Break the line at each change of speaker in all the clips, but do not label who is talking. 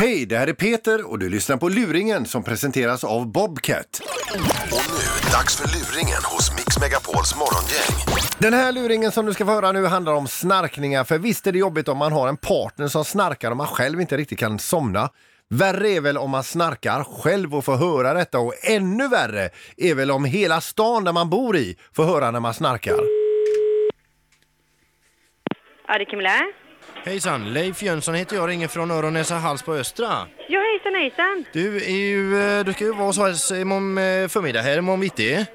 Hej, det här är Peter och du lyssnar på Luringen som presenteras av Bobcat.
Och nu, dags för luringen hos Mix Megapols morgongäng.
Den här luringen som du ska få höra nu handlar om snarkningar. För visst är det jobbigt om man har en partner som snarkar och man själv inte riktigt kan somna. Värre är väl om man snarkar själv och får höra detta och ännu värre är väl om hela stan där man bor i får höra när man snarkar.
Ja, det är Camilla.
Hejsan, Leif Jönsson heter jag, ringer från Öronäsa Hals på Östra.
Ja, hejsan, hejsan.
Du, är ju, eh, du ska ju vara hos oss imorgon eh, förmiddag här, imorgon bitti.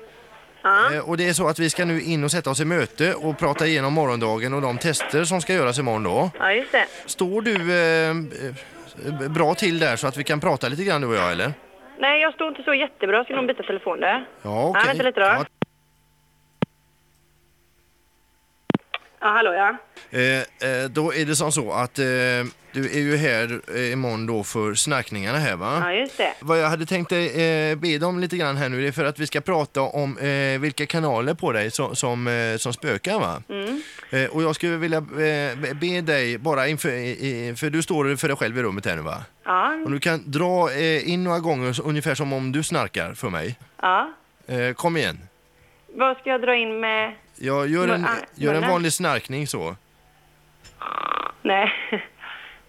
Ja.
Eh, Och det är så att vi ska nu in och sätta oss i möte och prata igenom morgondagen och de tester som ska göras imorgon då.
Ja, just det.
Står du eh, eh, bra till där så att vi kan prata lite grann du och jag eller?
Nej, jag står inte så jättebra. Ska någon byta telefon där?
Ja, okej.
Ja, vänta lite då.
Ja,
Ja, hallå ja.
eh, eh, då är det som så att eh, du är ju här eh, imorgon då för snackningarna här va?
Ja, just det.
Vad jag hade tänkt eh, be dig om lite grann här nu, det är för att vi ska prata om eh, vilka kanaler på dig som, som, eh, som spökar va? Eh, och jag skulle vilja eh, be- be dig bara inför, i- i- för du står för dig själv i rummet här nu va?
Ja,
Och du kan dra eh, in några gånger så- ungefär som om du snarkar för mig.
ja.
Eh, kom igen.
Vad ska jag dra in med?
Jag gör en,
Ah,
gör en
munnen.
vanlig snarkning så.
Nej.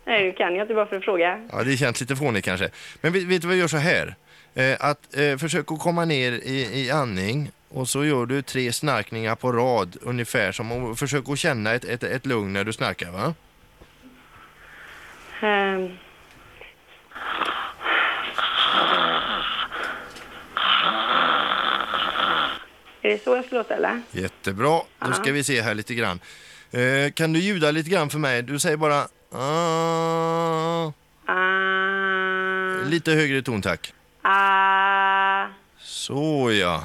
Nej, det kan jag inte bara för att fråga.
Ja, det känns lite fånigt kanske. Men vet, vet du vad jag gör så här? Eh, att eh, försök att komma ner i, i andning och så gör du tre snarkningar på rad ungefär som och försök att känna ett, ett, ett lugn när du snarkar va?
Ehm. Är det så jag ska låta eller?
Jättebra, då ska vi se här lite grann. Eh, kan du ljuda lite grann för mig? Du säger bara ah,
Ah,
lite högre ton tack.
ah,
Så ja.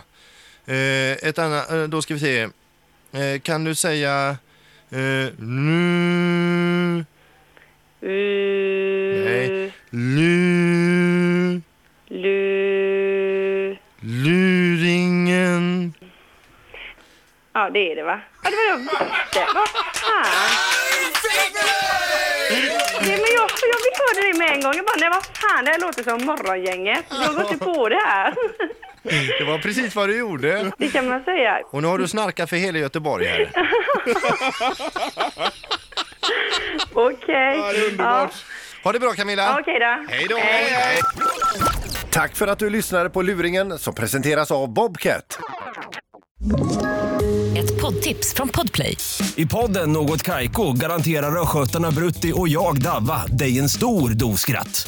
Eh, ett annat, eh, då ska vi se. Eh, kan du säga eh, nu?
uh,
Nej. Lu,
lu.
luringen.
Ja, det är det va? Ja, det var jag visste. Vad fan? Nej, men jag, jag fick höra det med en gång. Jag bara, nej vad fan, det här låter som Morgongänget. Jag går inte på det här.
Det var precis vad du gjorde.
Det kan man säga.
Och nu har du snarkat för hela Göteborg här.
Okej.
det är underbart. Ha det bra Camilla.
Ja, Okej då.
Hej då. Hej, hej.
Tack för att du lyssnade på Luringen som presenteras av Bobcat.
Ett poddtips från Podplay.
I podden Något Kaiko garanterar östgötarna Brutti och jag, Davva, dig en stor dos skratt.